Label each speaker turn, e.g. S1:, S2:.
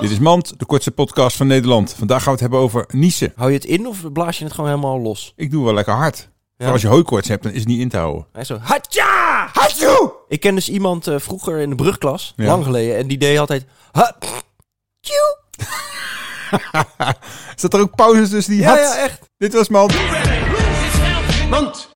S1: Dit is Mand, de kortste podcast van Nederland. Vandaag gaan we het hebben over niezen.
S2: Hou je het in of blaas je het gewoon helemaal los?
S1: Ik doe wel lekker hard. Maar
S2: Ja.
S1: Als je hooikoorts hebt, dan is het niet in te houden.
S2: Hij zo, hatja!
S1: Hatjoe!
S2: Ik ken dus iemand eh, vroeger in de brugklas,
S1: Ja.
S2: lang geleden, en die deed altijd, ha, pff, tjoe.
S1: Zat er ook pauzes tussen die
S2: Ja,
S1: had?
S2: ja, echt.
S1: Dit was Mand.